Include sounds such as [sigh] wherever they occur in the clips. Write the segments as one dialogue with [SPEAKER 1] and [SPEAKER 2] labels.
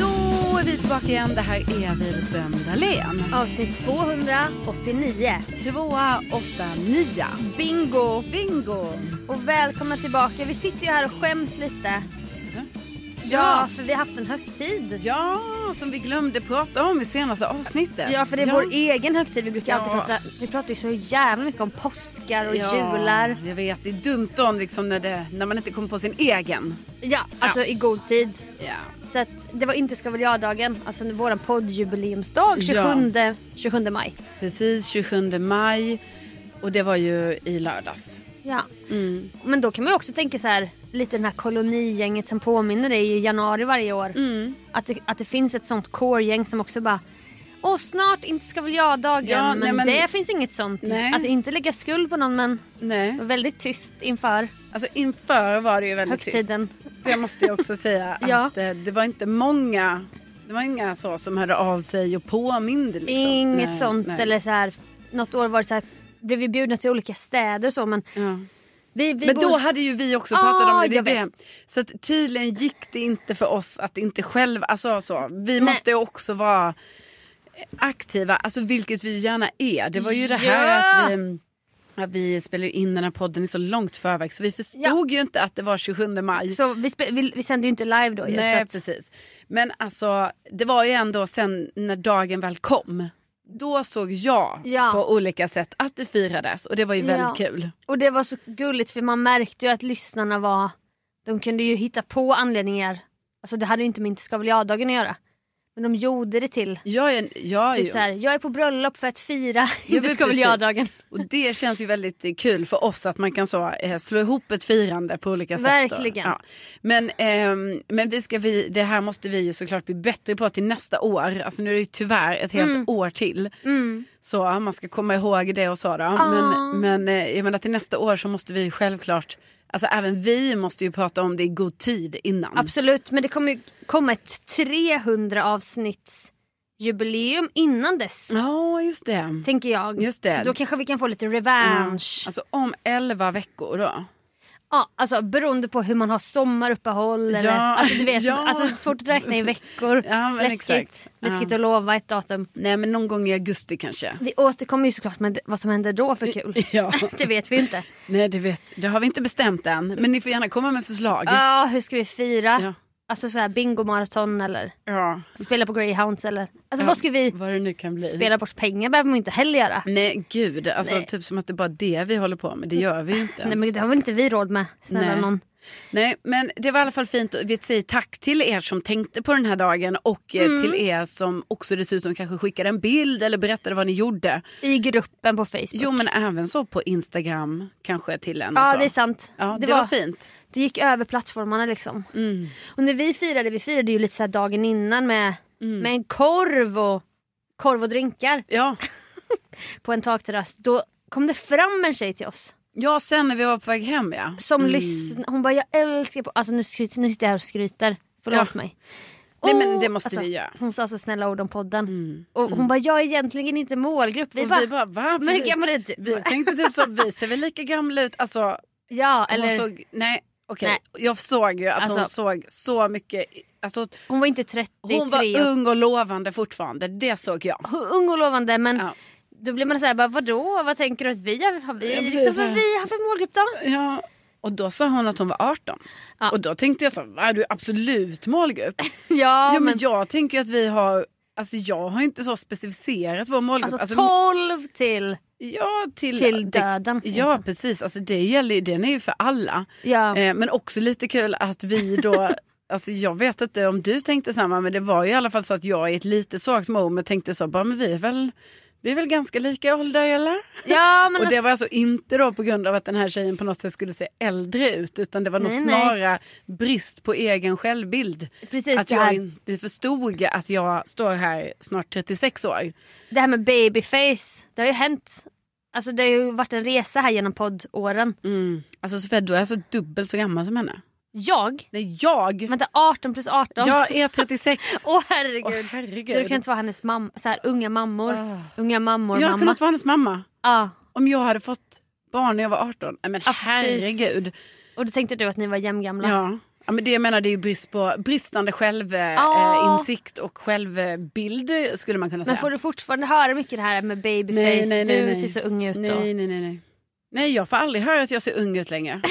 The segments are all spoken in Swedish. [SPEAKER 1] Då är vi tillbaka igen. Det här är Widerström Dahlén.
[SPEAKER 2] Avsnitt 289.
[SPEAKER 1] 289.
[SPEAKER 2] Bingo!
[SPEAKER 1] Bingo!
[SPEAKER 2] Och välkomna tillbaka. Vi sitter ju här och skäms lite. Ja,
[SPEAKER 1] Ja.
[SPEAKER 2] för vi har haft en högtid.
[SPEAKER 1] Ja, som vi glömde prata om i senaste avsnittet.
[SPEAKER 2] Ja, för det är vår egen högtid. Vi brukar alltid
[SPEAKER 1] Ja.
[SPEAKER 2] prata... Vi pratar ju så jävla mycket om påskar och
[SPEAKER 1] Ja,
[SPEAKER 2] jular.
[SPEAKER 1] Jag vet, det är dumt då liksom när, det, när man inte kommer på sin egen.
[SPEAKER 2] Ja, alltså i god tid.
[SPEAKER 1] Ja.
[SPEAKER 2] Så att det var inte ska väl jag-dagen. Alltså vår poddjubileumsdag 27, 27 maj.
[SPEAKER 1] Precis, 27 maj. Och det var ju i lördags.
[SPEAKER 2] Ja.
[SPEAKER 1] Mm.
[SPEAKER 2] Men då kan man ju också tänka så här, lite den här kolonigänget som påminner dig i januari varje år.
[SPEAKER 1] Mm.
[SPEAKER 2] Att, det, att det finns ett sånt core-gäng som också bara Åh snart inte ska väl jag-dagen
[SPEAKER 1] Ja,
[SPEAKER 2] men,
[SPEAKER 1] nej, men-
[SPEAKER 2] det finns inget sånt.
[SPEAKER 1] Nej.
[SPEAKER 2] Alltså inte lägga skuld på någon men
[SPEAKER 1] Nej.
[SPEAKER 2] väldigt tyst inför
[SPEAKER 1] Alltså inför var det ju väldigt
[SPEAKER 2] högtiden.
[SPEAKER 1] tyst. Liksom. Det måste jag också säga.
[SPEAKER 2] [laughs] Ja.
[SPEAKER 1] att, eh, det var inte många det var inga så som hörde av sig och påminde. Liksom.
[SPEAKER 2] Inget
[SPEAKER 1] Nej,
[SPEAKER 2] sånt
[SPEAKER 1] nej.
[SPEAKER 2] eller så här, något år var det så här, blev vi bjudna till olika städer och så men
[SPEAKER 1] Ja.
[SPEAKER 2] vi, vi
[SPEAKER 1] Men
[SPEAKER 2] bor-
[SPEAKER 1] då hade ju vi också pratat om
[SPEAKER 2] Ah,
[SPEAKER 1] det. det, är
[SPEAKER 2] jag
[SPEAKER 1] det.
[SPEAKER 2] vet.
[SPEAKER 1] Så att tydligen gick det inte för oss att inte själva, alltså så. Vi måste ju också vara aktiva, alltså vilket vi gärna är. Det var ju det här
[SPEAKER 2] Ja.
[SPEAKER 1] att vi, att vi spelade ju in den här podden i så långt förväg så vi förstod ju inte att det var 27 maj.
[SPEAKER 2] Så vi, spe- vi, vi sände ju inte live då ju.
[SPEAKER 1] Nej
[SPEAKER 2] så att,
[SPEAKER 1] precis. Men alltså det var ju ändå sen när dagen väl kom. Då såg jag
[SPEAKER 2] Ja.
[SPEAKER 1] på olika sätt att det firades och det var ju väldigt
[SPEAKER 2] Ja.
[SPEAKER 1] kul.
[SPEAKER 2] Och det var så gulligt för man märkte ju att lyssnarna var, de kunde ju hitta på anledningar. Alltså det hade ju inte med inte ska väl jag-dagen att göra. Men de gjorde det till.
[SPEAKER 1] Jag är, jag är
[SPEAKER 2] Typ
[SPEAKER 1] ju-
[SPEAKER 2] så här, jag är på bröllop för att fira [laughs]
[SPEAKER 1] Ja,
[SPEAKER 2] inte
[SPEAKER 1] men
[SPEAKER 2] ska väl
[SPEAKER 1] precis.
[SPEAKER 2] jag-dagen.
[SPEAKER 1] Och det känns ju väldigt eh, kul för oss att man kan så, eh, slå ihop ett firande på olika sätt. då.
[SPEAKER 2] Verkligen.
[SPEAKER 1] Ja. Men, ehm, men vi ska vi, det här måste vi ju såklart bli bättre på till nästa år. Alltså nu är det ju tyvärr ett helt år till. Så man ska komma ihåg det och så då. Men, men eh, jag menar till nästa år så måste vi självklart, alltså även vi måste ju prata om det i god tid innan.
[SPEAKER 2] Absolut, men det kommer ju komma ett 300 avsnitts jubileum innan dess.
[SPEAKER 1] Ja just det.
[SPEAKER 2] Tänker jag.
[SPEAKER 1] Mm. Just det.
[SPEAKER 2] Så då kanske vi kan få lite
[SPEAKER 1] Ja.
[SPEAKER 2] revansch.
[SPEAKER 1] Alltså om 11 veckor då.
[SPEAKER 2] Ja, alltså beroende på hur man har sommaruppehåll eller,
[SPEAKER 1] Ja,
[SPEAKER 2] alltså du vet,
[SPEAKER 1] ja.
[SPEAKER 2] alltså, det är svårt att räkna i veckor.
[SPEAKER 1] Ja, men
[SPEAKER 2] Läskigt.
[SPEAKER 1] exakt. Ja.
[SPEAKER 2] Läskigt att lova ett datum.
[SPEAKER 1] Nej men någon gång i augusti
[SPEAKER 2] [laughs]
[SPEAKER 1] kanske.
[SPEAKER 2] Vi återkommer ju såklart med vad som händer då för kul.
[SPEAKER 1] [laughs] Ja.
[SPEAKER 2] [laughs] det vet vi inte.
[SPEAKER 1] Nej, det, vet, det har vi inte bestämt än. Men ni får gärna komma med förslag.
[SPEAKER 2] Ja, hur ska vi fira?
[SPEAKER 1] Ja.
[SPEAKER 2] Alltså så här bingomaraton eller
[SPEAKER 1] Ja.
[SPEAKER 2] spela på greyhounds eller alltså vad ska vi
[SPEAKER 1] Vad det Mm. nu kan bli.
[SPEAKER 2] spela bort pengar behöver man ju inte heller göra.
[SPEAKER 1] Nej, gud. Alltså,
[SPEAKER 2] Nej.
[SPEAKER 1] Typ som att det är bara det vi håller på med. Det gör vi ju inte ens.
[SPEAKER 2] Nej men det har väl inte vi råd med. Snälla
[SPEAKER 1] Nej.
[SPEAKER 2] någon.
[SPEAKER 1] Nej, men det var i alla fall fint. Vi säger tack till er som tänkte på den här dagen och
[SPEAKER 2] Mm.
[SPEAKER 1] eh, till er som också dessutom kanske skickade en bild eller berättade vad ni gjorde.
[SPEAKER 2] I gruppen på Facebook.
[SPEAKER 1] Jo, men även så på Instagram kanske till en. och
[SPEAKER 2] ja
[SPEAKER 1] så.
[SPEAKER 2] det är sant.
[SPEAKER 1] Ja, det, var, fint. Mm.
[SPEAKER 2] Det gick över plattformarna liksom. Och när vi firade, vi firade ju lite så här
[SPEAKER 1] Mm.
[SPEAKER 2] dagen innan med, med en korv och korv och drinkar.
[SPEAKER 1] Ja,
[SPEAKER 2] på en takterrass, då kom det fram en tjej till oss.
[SPEAKER 1] Ja, sen när vi var på väg hem ja.
[SPEAKER 2] Som lyssn- Hon bara jag älskar på... Alltså nu, skryter, nu sitter jag här och skryter. Förlåt
[SPEAKER 1] Ja.
[SPEAKER 2] mig.
[SPEAKER 1] Nej,
[SPEAKER 2] Åh,
[SPEAKER 1] men det måste vi göra. Mm.
[SPEAKER 2] Hon sa så snälla ord om podden. Och hon bara jag är egentligen inte målgrupp. Vi,
[SPEAKER 1] Och
[SPEAKER 2] bara,
[SPEAKER 1] vi bara va?
[SPEAKER 2] men hur
[SPEAKER 1] Vi-
[SPEAKER 2] gammal är du?
[SPEAKER 1] Vi tänkte typ så, vi ser väl lika gamla ut. Alltså,
[SPEAKER 2] [laughs] Ja eller
[SPEAKER 1] hon
[SPEAKER 2] hon,
[SPEAKER 1] såg, nej okej. Jag såg ju att hon
[SPEAKER 2] Alltså-
[SPEAKER 1] såg så mycket, alltså
[SPEAKER 2] var inte 33.
[SPEAKER 1] hon var ung och lovande fortfarande. Det såg jag.
[SPEAKER 2] Hu- ung och lovande men
[SPEAKER 1] Ja.
[SPEAKER 2] då blir man såhär, bara, vadå vad tänker du att vi har, har vi,
[SPEAKER 1] Ja, precis,
[SPEAKER 2] liksom, vad
[SPEAKER 1] ja.
[SPEAKER 2] vi har för målgrupp då?
[SPEAKER 1] Ja. Och då sa hon att hon var 18.
[SPEAKER 2] Ja.
[SPEAKER 1] Och då tänkte jag så, va du är absolut målgrupp. [laughs]
[SPEAKER 2] Ja,
[SPEAKER 1] Ja, men,
[SPEAKER 2] men,
[SPEAKER 1] jag tänker ju att vi har, alltså jag har inte så specificerat vår målgrupp.
[SPEAKER 2] alltså,
[SPEAKER 1] Alltså,
[SPEAKER 2] 12 till,
[SPEAKER 1] ja, till,
[SPEAKER 2] till
[SPEAKER 1] det-
[SPEAKER 2] döden.
[SPEAKER 1] Ja precis, alltså det gäller, ju- den är ju för alla.
[SPEAKER 2] Ja.
[SPEAKER 1] Eh, men också lite kul att vi
[SPEAKER 2] [laughs]
[SPEAKER 1] då, alltså jag vet inte om du tänkte samma men det var ju i alla fall så att jag i ett lite svagt moment tänkte så, bara men vi är väl, vi är väl ganska lika i ålder eller?
[SPEAKER 2] ja men
[SPEAKER 1] och det
[SPEAKER 2] alltså,
[SPEAKER 1] var alltså inte då på grund av att den här tjejen på något sätt skulle se äldre ut utan det var nog
[SPEAKER 2] Nej, nej.
[SPEAKER 1] snarare brist på egen självbild.
[SPEAKER 2] precis
[SPEAKER 1] Att
[SPEAKER 2] det här,
[SPEAKER 1] jag inte förstod att jag står här snart 36 år.
[SPEAKER 2] det här med babyface, det har ju hänt. Alltså det har ju varit en resa här genom poddåren.
[SPEAKER 1] Alltså Sofia, du är alltså dubbelt så gammal som henne.
[SPEAKER 2] Jag,
[SPEAKER 1] Nej, jag!
[SPEAKER 2] vänta 18 plus 18.
[SPEAKER 1] Jag är 36.
[SPEAKER 2] [laughs] Åh
[SPEAKER 1] Åh
[SPEAKER 2] herregud.
[SPEAKER 1] herregud. Ah.
[SPEAKER 2] Så du kan inte vara hennes mamma, så här, unga mammor. Unga mammor,
[SPEAKER 1] jag hade
[SPEAKER 2] mamma.
[SPEAKER 1] kunnat vara hennes mamma
[SPEAKER 2] Ja.
[SPEAKER 1] om jag hade fått barn när jag var 18. Nej, men
[SPEAKER 2] Ja, precis. Mm.
[SPEAKER 1] herregud.
[SPEAKER 2] Och då tänkte du att ni var jämngamla.
[SPEAKER 1] Ja. Ja, men det jag menar det är ju brist på, bristande
[SPEAKER 2] Ja.
[SPEAKER 1] självinsikt och självbild skulle man kunna säga.
[SPEAKER 2] Men får du fortfarande höra mycket det här med babyface?
[SPEAKER 1] Nej, nej, nej,
[SPEAKER 2] du
[SPEAKER 1] nej.
[SPEAKER 2] ser så ung ut då.
[SPEAKER 1] Nej, nej, nej, nej. Nej, jag får aldrig höra att jag ser ung ut
[SPEAKER 2] [laughs]
[SPEAKER 1] längre.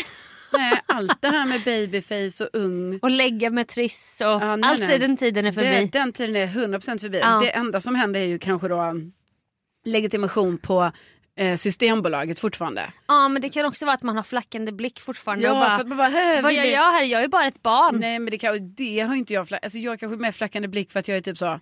[SPEAKER 1] nej, allt det här med babyface och ung.
[SPEAKER 2] Och lägga med Triss och
[SPEAKER 1] Ja, nej,
[SPEAKER 2] allt i
[SPEAKER 1] nej.
[SPEAKER 2] den tiden är förbi.
[SPEAKER 1] Det, den tiden är 100% förbi.
[SPEAKER 2] Ja.
[SPEAKER 1] Det enda som händer är ju kanske då um, legitimation på eh, Systembolaget fortfarande.
[SPEAKER 2] Ja men det kan också vara att man har flackande blick fortfarande och bara,
[SPEAKER 1] för att man bara, "Hä,
[SPEAKER 2] vad
[SPEAKER 1] vill
[SPEAKER 2] gör
[SPEAKER 1] vi-"
[SPEAKER 2] jag här? Jag är bara ett barn.
[SPEAKER 1] Nej men det, kan, det har ju inte jag, fla- alltså jag har kanske mer flackande blick för att jag är typ så, eh,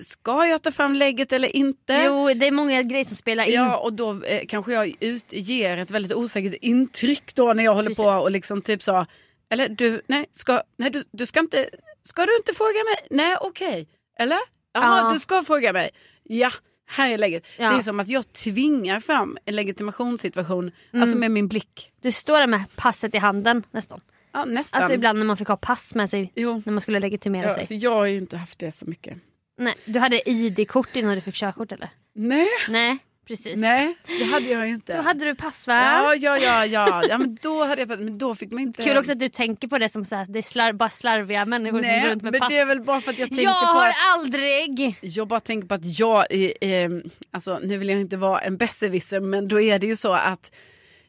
[SPEAKER 1] ska jag ta fram lägget eller inte?
[SPEAKER 2] Jo det är många grejer som spelar in.
[SPEAKER 1] Eh? Ja och då eh, kanske jag utger ett väldigt osäkert intryck då när jag håller på
[SPEAKER 2] Precis.
[SPEAKER 1] och liksom typ så, eller du, nej, ska, nej du, du ska inte, ska du inte fråga mig? Nej okej, eller? Jaha
[SPEAKER 2] Ja.
[SPEAKER 1] du ska fråga mig. Ja, här är läget.
[SPEAKER 2] Ja.
[SPEAKER 1] Det är som att jag tvingar fram en legitimationssituation, alltså
[SPEAKER 2] Mm.
[SPEAKER 1] med min blick.
[SPEAKER 2] Du står där med passet i handen nästan.
[SPEAKER 1] Ja nästan.
[SPEAKER 2] Alltså ibland när man fick ha pass med sig
[SPEAKER 1] Jo.
[SPEAKER 2] när man skulle legitimera
[SPEAKER 1] Ja,
[SPEAKER 2] sig.
[SPEAKER 1] alltså, jag har ju inte haft det så mycket.
[SPEAKER 2] Nej, du hade ID-kort innan du fick körkort eller?
[SPEAKER 1] Nej,
[SPEAKER 2] Nej precis.
[SPEAKER 1] nej det hade jag ju inte.
[SPEAKER 2] Då hade du pass va?
[SPEAKER 1] Ja, ja, ja, ja. ja men, då hade jag, men då fick man inte...
[SPEAKER 2] Kul också att du tänker på det som så här, det är slar- bara slarviga människor
[SPEAKER 1] Nej,
[SPEAKER 2] som går runt med
[SPEAKER 1] men
[SPEAKER 2] pass.
[SPEAKER 1] det är väl bara för att jag tänker
[SPEAKER 2] jag
[SPEAKER 1] på
[SPEAKER 2] har
[SPEAKER 1] att...
[SPEAKER 2] aldrig!
[SPEAKER 1] Jag bara tänker på att jag, eh, eh, alltså nu vill jag inte vara en besserwisser men då är det ju så att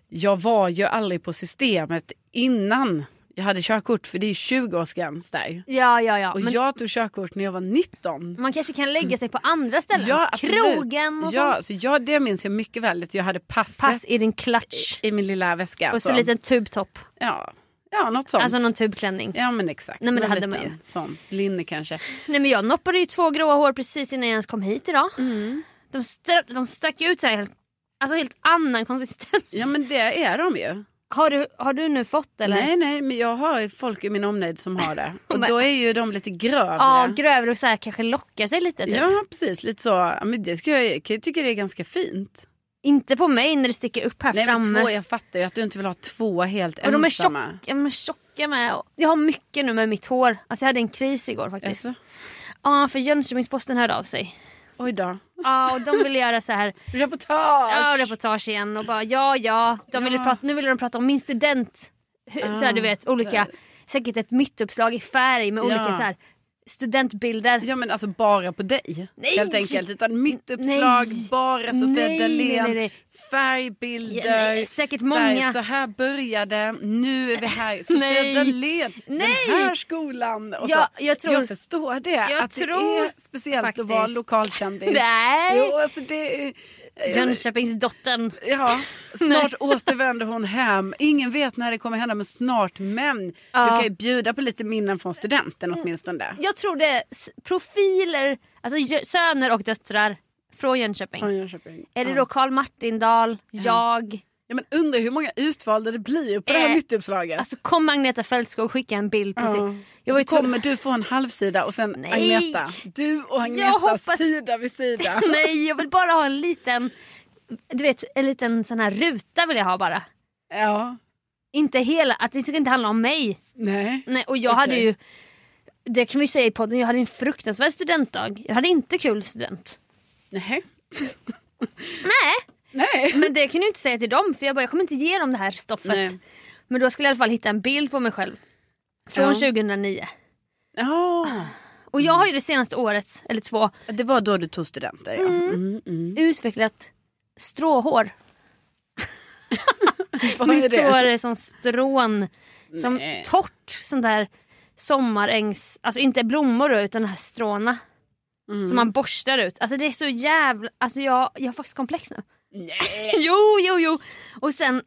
[SPEAKER 1] jag var ju aldrig på systemet innan jag hade körkort för det är 20-årsgräns där.
[SPEAKER 2] Ja, ja, ja.
[SPEAKER 1] Och
[SPEAKER 2] Men
[SPEAKER 1] jag tog körkort när jag var 19.
[SPEAKER 2] Man kanske kan lägga sig på andra ställen.
[SPEAKER 1] absolut.
[SPEAKER 2] Krogen och
[SPEAKER 1] ja,
[SPEAKER 2] sånt.
[SPEAKER 1] så jag, Det minns jag mycket väl att jag hade passet
[SPEAKER 2] Pass i din klatsch.
[SPEAKER 1] i min lilla väska. alltså.
[SPEAKER 2] Och så en liten tubtopp.
[SPEAKER 1] ja, ja, något sånt.
[SPEAKER 2] Alltså någon tubklänning.
[SPEAKER 1] Ja men exakt.
[SPEAKER 2] Nej, men det
[SPEAKER 1] Någon
[SPEAKER 2] hade
[SPEAKER 1] liten
[SPEAKER 2] man ju.
[SPEAKER 1] Sån, linne kanske.
[SPEAKER 2] Nej men jag noppade ju två gråa hår precis innan jag ens kom hit idag.
[SPEAKER 1] Mm.
[SPEAKER 2] De, stö- de stack ut så här helt, alltså helt annan konsistens.
[SPEAKER 1] Ja men det är de ju.
[SPEAKER 2] har, du, har du nu fått eller?
[SPEAKER 1] Nej nej men jag har ju folk i min omnejd som har
[SPEAKER 2] [laughs]
[SPEAKER 1] det. Och
[SPEAKER 2] Men-
[SPEAKER 1] då är ju de lite grövre.
[SPEAKER 2] Ja, grövre och så här kanske lockar sig lite typ.
[SPEAKER 1] Ja precis, lite så. Ja, Men det ska jag, jag tycker det är ganska fint.
[SPEAKER 2] Inte på mig när det sticker upp här
[SPEAKER 1] Nej, men
[SPEAKER 2] framme.
[SPEAKER 1] två, jag fattar ju att du inte vill ha två helt
[SPEAKER 2] och de är,
[SPEAKER 1] ensamma.
[SPEAKER 2] tjocka, de är tjocka med. Och Jag har mycket nu med mitt hår. Alltså jag hade en kris igår faktiskt.
[SPEAKER 1] Alltså,
[SPEAKER 2] Ja, för Jönköpingsposten hörde av sig.
[SPEAKER 1] oj då.
[SPEAKER 2] Ja, och de ville göra så här
[SPEAKER 1] Reportage!
[SPEAKER 2] ja, reportage igen och bara ja, ja. De ville prata, nu ville de prata om min student. Hur- Så
[SPEAKER 1] Ah.
[SPEAKER 2] här, du vet, olika, säkert ett mittuppslag i färg med olika
[SPEAKER 1] Ja.
[SPEAKER 2] så här, studentbilder.
[SPEAKER 1] Ja men alltså bara på dig.
[SPEAKER 2] Nej!
[SPEAKER 1] Helt enkelt. Utan mitt uppslag,
[SPEAKER 2] Nej.
[SPEAKER 1] bara Sofia
[SPEAKER 2] Nej,
[SPEAKER 1] Dalén,
[SPEAKER 2] nej, nej.
[SPEAKER 1] färgbilder.
[SPEAKER 2] Ja, nej, säkert
[SPEAKER 1] Så här,
[SPEAKER 2] många.
[SPEAKER 1] Så här började, nu är vi
[SPEAKER 2] [laughs]
[SPEAKER 1] här. Sofia
[SPEAKER 2] Nej.
[SPEAKER 1] Dalén, den
[SPEAKER 2] Nej.
[SPEAKER 1] här skolan. Och
[SPEAKER 2] Ja,
[SPEAKER 1] så.
[SPEAKER 2] jag tror-
[SPEAKER 1] jag förstår det.
[SPEAKER 2] jag
[SPEAKER 1] att det
[SPEAKER 2] tror
[SPEAKER 1] är speciellt
[SPEAKER 2] faktiskt-
[SPEAKER 1] att vara lokalkändis.
[SPEAKER 2] Nej.
[SPEAKER 1] Jo, alltså det är...
[SPEAKER 2] Jönköpingsdottern.
[SPEAKER 1] Ja,
[SPEAKER 2] [laughs]
[SPEAKER 1] snart återvänder hon hem. Ingen vet när det kommer hända men snart. Men du kan ju bjuda på lite minnen från studenten åtminstone.
[SPEAKER 2] Jag tror det är s- profiler, alltså jö- söner och döttrar från Jönköping.
[SPEAKER 1] Från Jönköping.
[SPEAKER 2] Är det då Karl Martindal, jag,
[SPEAKER 1] Ja, men undrar hur många utvalda det blir på det här
[SPEAKER 2] Eh,
[SPEAKER 1] mittuppslaget.
[SPEAKER 2] Alltså kom Agneta Fältskog och skicka en bild på
[SPEAKER 1] Ja.
[SPEAKER 2] sig.
[SPEAKER 1] Jag
[SPEAKER 2] Jag var ju
[SPEAKER 1] så kommer
[SPEAKER 2] tvungen-
[SPEAKER 1] du få en halvsida och sen
[SPEAKER 2] Nej.
[SPEAKER 1] Agneta. Du och Agneta
[SPEAKER 2] hoppas-
[SPEAKER 1] sida vid sida.
[SPEAKER 2] [laughs] Nej jag vill bara ha en liten, du vet en liten sån här ruta vill jag ha bara.
[SPEAKER 1] Ja,
[SPEAKER 2] Inte hela, att det ska inte handla om mig.
[SPEAKER 1] nej.
[SPEAKER 2] Nej, och jag hade
[SPEAKER 1] Okej.
[SPEAKER 2] ju, det kan vi säga i podden, jag hade en fruktansvärd studentdag. Jag hade inte kul student.
[SPEAKER 1] Nej.
[SPEAKER 2] Nej,
[SPEAKER 1] Nej.
[SPEAKER 2] men det kan du inte säga till dem för jag bara jag kommer inte ge dem det här stoffet.
[SPEAKER 1] Nej.
[SPEAKER 2] Men då skulle jag i alla fall hitta en bild på mig själv. Från
[SPEAKER 1] Ja.
[SPEAKER 2] 2009.
[SPEAKER 1] Ja.
[SPEAKER 2] Och jag har ju det senaste året, eller två,
[SPEAKER 1] Det var då du tog studenter ja. Mm, mm.
[SPEAKER 2] utvecklat stråhår.
[SPEAKER 1] Vad är
[SPEAKER 2] Mitt hår
[SPEAKER 1] det?
[SPEAKER 2] är som strån. Som
[SPEAKER 1] Nej.
[SPEAKER 2] torrt sånt där sommarängs... Alltså inte blommor då, utan de här stråna.
[SPEAKER 1] Mm.
[SPEAKER 2] Som man borstar ut. Alltså det är så jävla... Alltså jag, jag har faktiskt komplex nu.
[SPEAKER 1] Nej.
[SPEAKER 2] [laughs] jo, jo, jo. Och sen,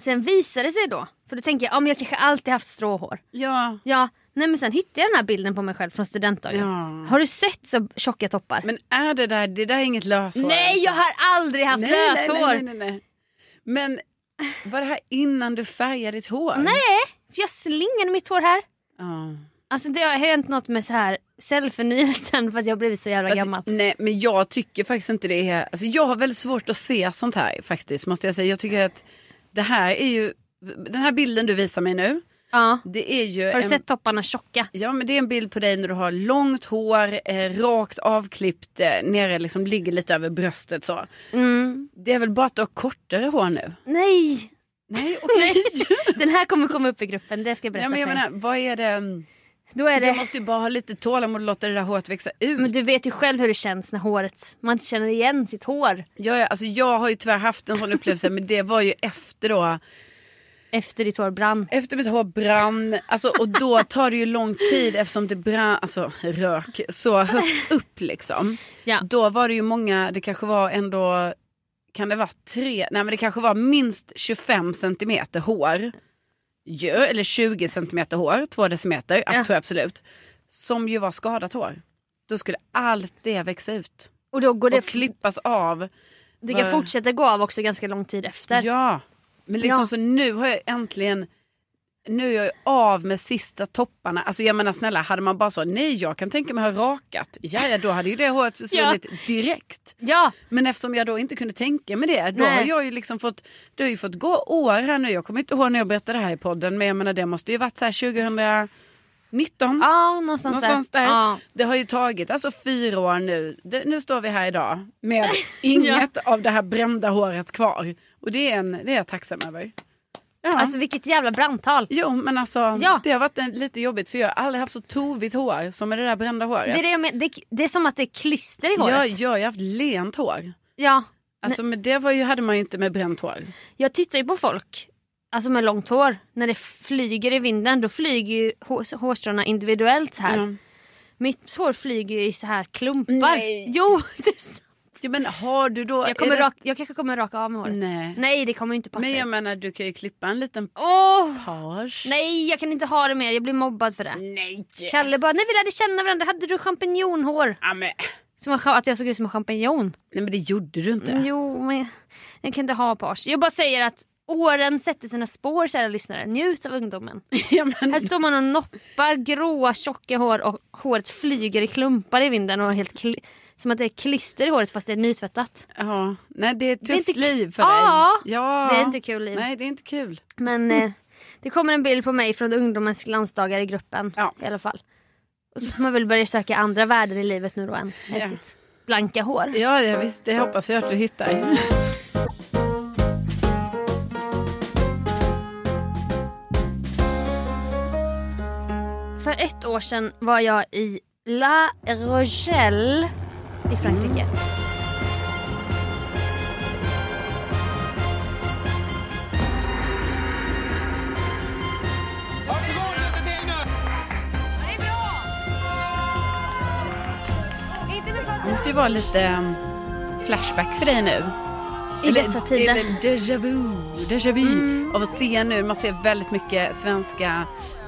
[SPEAKER 2] sen visade det sig då. För då tänker jag, ja men jag kanske alltid haft stråhår.
[SPEAKER 1] Ja.
[SPEAKER 2] Ja, nej men sen hittade jag den här bilden på mig själv från studentdagen.
[SPEAKER 1] Ja.
[SPEAKER 2] Har du sett så tjocka toppar?
[SPEAKER 1] Men är det där, det där är inget löshår?
[SPEAKER 2] nej, jag har aldrig haft
[SPEAKER 1] nej, nej,
[SPEAKER 2] löshår.
[SPEAKER 1] Nej, nej, nej. Men var det här innan du färgade ditt hår?
[SPEAKER 2] Nej, för jag slingade mitt hår här.
[SPEAKER 1] Ja.
[SPEAKER 2] Alltså det har hänt något med så här cellförnyelsen för att jag har blivit så jävla
[SPEAKER 1] Alltså,
[SPEAKER 2] gammal.
[SPEAKER 1] nej, men jag tycker faktiskt inte det är... Alltså, jag har väldigt svårt att se sånt här faktiskt, måste jag säga. Jag tycker att det här är ju... Den här bilden du visar mig nu,
[SPEAKER 2] Ja.
[SPEAKER 1] det är ju...
[SPEAKER 2] Har du
[SPEAKER 1] en,
[SPEAKER 2] sett topparna tjocka?
[SPEAKER 1] Ja, men det är en bild på dig när du har långt hår, eh, rakt avklippt, eh, nere liksom ligger lite över bröstet så.
[SPEAKER 2] Mm.
[SPEAKER 1] Det är väl bara att du har kortare hår nu?
[SPEAKER 2] Nej!
[SPEAKER 1] [laughs] Nej,
[SPEAKER 2] [laughs] Nej. Den här kommer komma upp i gruppen, det ska jag
[SPEAKER 1] [laughs]
[SPEAKER 2] berätta
[SPEAKER 1] Ja, men jag
[SPEAKER 2] för dig.
[SPEAKER 1] menar, vad är det...
[SPEAKER 2] Då är
[SPEAKER 1] Du
[SPEAKER 2] det...
[SPEAKER 1] måste ju bara ha lite tålamod och låta det där håret växa ut.
[SPEAKER 2] Men du vet ju själv hur det känns när håret, man inte känner igen sitt hår
[SPEAKER 1] Ja, ja, alltså, jag har ju tyvärr haft en sån upplevelse, men det var ju efter då...
[SPEAKER 2] efter ditt hår brann.
[SPEAKER 1] Efter mitt hår brann, alltså, och då tar det ju lång tid eftersom det brann, alltså rök, så högt upp liksom.
[SPEAKER 2] Ja.
[SPEAKER 1] Då var det ju många, det kanske var ändå, kan det vara tre, nej men det kanske var minst 25 centimeter hår. Ju, eller 20 centimeter hår, två decimeter,
[SPEAKER 2] Ja.
[SPEAKER 1] tror jag absolut. Som ju var skadat hår. Då skulle allt det växa ut
[SPEAKER 2] Och då går
[SPEAKER 1] och
[SPEAKER 2] det...
[SPEAKER 1] klippas av.
[SPEAKER 2] det kan
[SPEAKER 1] var-
[SPEAKER 2] fortsätta gå av också ganska lång tid efter.
[SPEAKER 1] Ja, men liksom
[SPEAKER 2] Ja.
[SPEAKER 1] så nu har jag äntligen nu är jag ju av med sista topparna. Alltså jag menar snälla, hade man bara så nej jag kan tänka mig ha rakat. Ja, ja då hade ju det
[SPEAKER 2] [laughs]
[SPEAKER 1] håret försvunnit direkt.
[SPEAKER 2] ja.
[SPEAKER 1] Men eftersom jag då inte kunde tänka mig det, då
[SPEAKER 2] Nej.
[SPEAKER 1] har jag ju liksom fått, det har ju fått gå år här nu. Jag kommer inte ihåg när jag berättade det här i podden, men jag menar det måste ju varit så här 2019.
[SPEAKER 2] Ja, någonstans,
[SPEAKER 1] Någonstans där.
[SPEAKER 2] Ja.
[SPEAKER 1] Det har ju tagit alltså fyra år nu. Det, nu står vi här idag
[SPEAKER 2] [laughs]
[SPEAKER 1] med inget av det här brända håret kvar. Och det är, en, det är jag tacksam över. Ja.
[SPEAKER 2] Alltså vilket jävla brandtal.
[SPEAKER 1] jo, men alltså
[SPEAKER 2] Ja.
[SPEAKER 1] det har varit en, lite jobbigt för jag har aldrig haft så tovigt hår som med det där brända håret.
[SPEAKER 2] Det är, det, jag men- det, det är som att det är klister i håret.
[SPEAKER 1] jag, jag har ju haft lent hår.
[SPEAKER 2] Ja.
[SPEAKER 1] Alltså, men det var ju, hade man ju inte med bränt hår.
[SPEAKER 2] Jag tittar ju på folk alltså med långt hår. När det flyger i vinden då flyger ju hår, hårstråna individuellt här.
[SPEAKER 1] Mm.
[SPEAKER 2] Mitt hår flyger ju i så här klumpar.
[SPEAKER 1] Nej.
[SPEAKER 2] Jo, [laughs] det är sant.
[SPEAKER 1] Ja, men har du då...
[SPEAKER 2] jag, kommer
[SPEAKER 1] är det-
[SPEAKER 2] rak, jag kanske kommer raka av med håret.
[SPEAKER 1] Nej.
[SPEAKER 2] det kommer ju inte passa.
[SPEAKER 1] Men jag
[SPEAKER 2] dig.
[SPEAKER 1] menar du kan ju klippa en liten
[SPEAKER 2] Åh!
[SPEAKER 1] page.
[SPEAKER 2] Nej, jag kan inte ha det mer. Jag blir mobbad för det.
[SPEAKER 1] Nej.
[SPEAKER 2] Kalle bara, när vi lärde känna varandra hade du champinjonhår.
[SPEAKER 1] Ja, men.
[SPEAKER 2] Som jag- att jag såg ut som en champinjon.
[SPEAKER 1] Nej men det gjorde du inte.
[SPEAKER 2] Mm, Jo, men jag- jag kan inte ha page. Jag bara säger att åren sätter sina spår, kära lyssnare. Njut av ungdomen.
[SPEAKER 1] [laughs] Ja, men,
[SPEAKER 2] Här står man och noppar gråa tjocka hår och håret flyger i klumpar i vinden och är helt kli- som att det är klister i håret fast det är nytvättat.
[SPEAKER 1] Ja, nej det är ett
[SPEAKER 2] Det är
[SPEAKER 1] tufft
[SPEAKER 2] inte-
[SPEAKER 1] liv för
[SPEAKER 2] Ja,
[SPEAKER 1] dig. Ja,
[SPEAKER 2] det är inte kul liv.
[SPEAKER 1] Nej, det är inte kul.
[SPEAKER 2] Men
[SPEAKER 1] Mm.
[SPEAKER 2] eh, det kommer en bild på mig från ungdomens glansdagar i gruppen
[SPEAKER 1] Ja.
[SPEAKER 2] i alla fall. Och så får man väl börja söka andra värden i livet nu då än än
[SPEAKER 1] Ja.
[SPEAKER 2] sitt blanka hår.
[SPEAKER 1] Ja, ja visst, det hoppas jag att du
[SPEAKER 2] Mm.
[SPEAKER 1] hittar.
[SPEAKER 2] För ett år sedan var jag i La Rochelle i Frankrike.
[SPEAKER 1] Det måste ju vara lite um, flashback för dig nu.
[SPEAKER 2] I dessa tider. Mm.
[SPEAKER 1] Eller déjà vu. Déjà vu. Av att se nu, man ser väldigt mycket svenska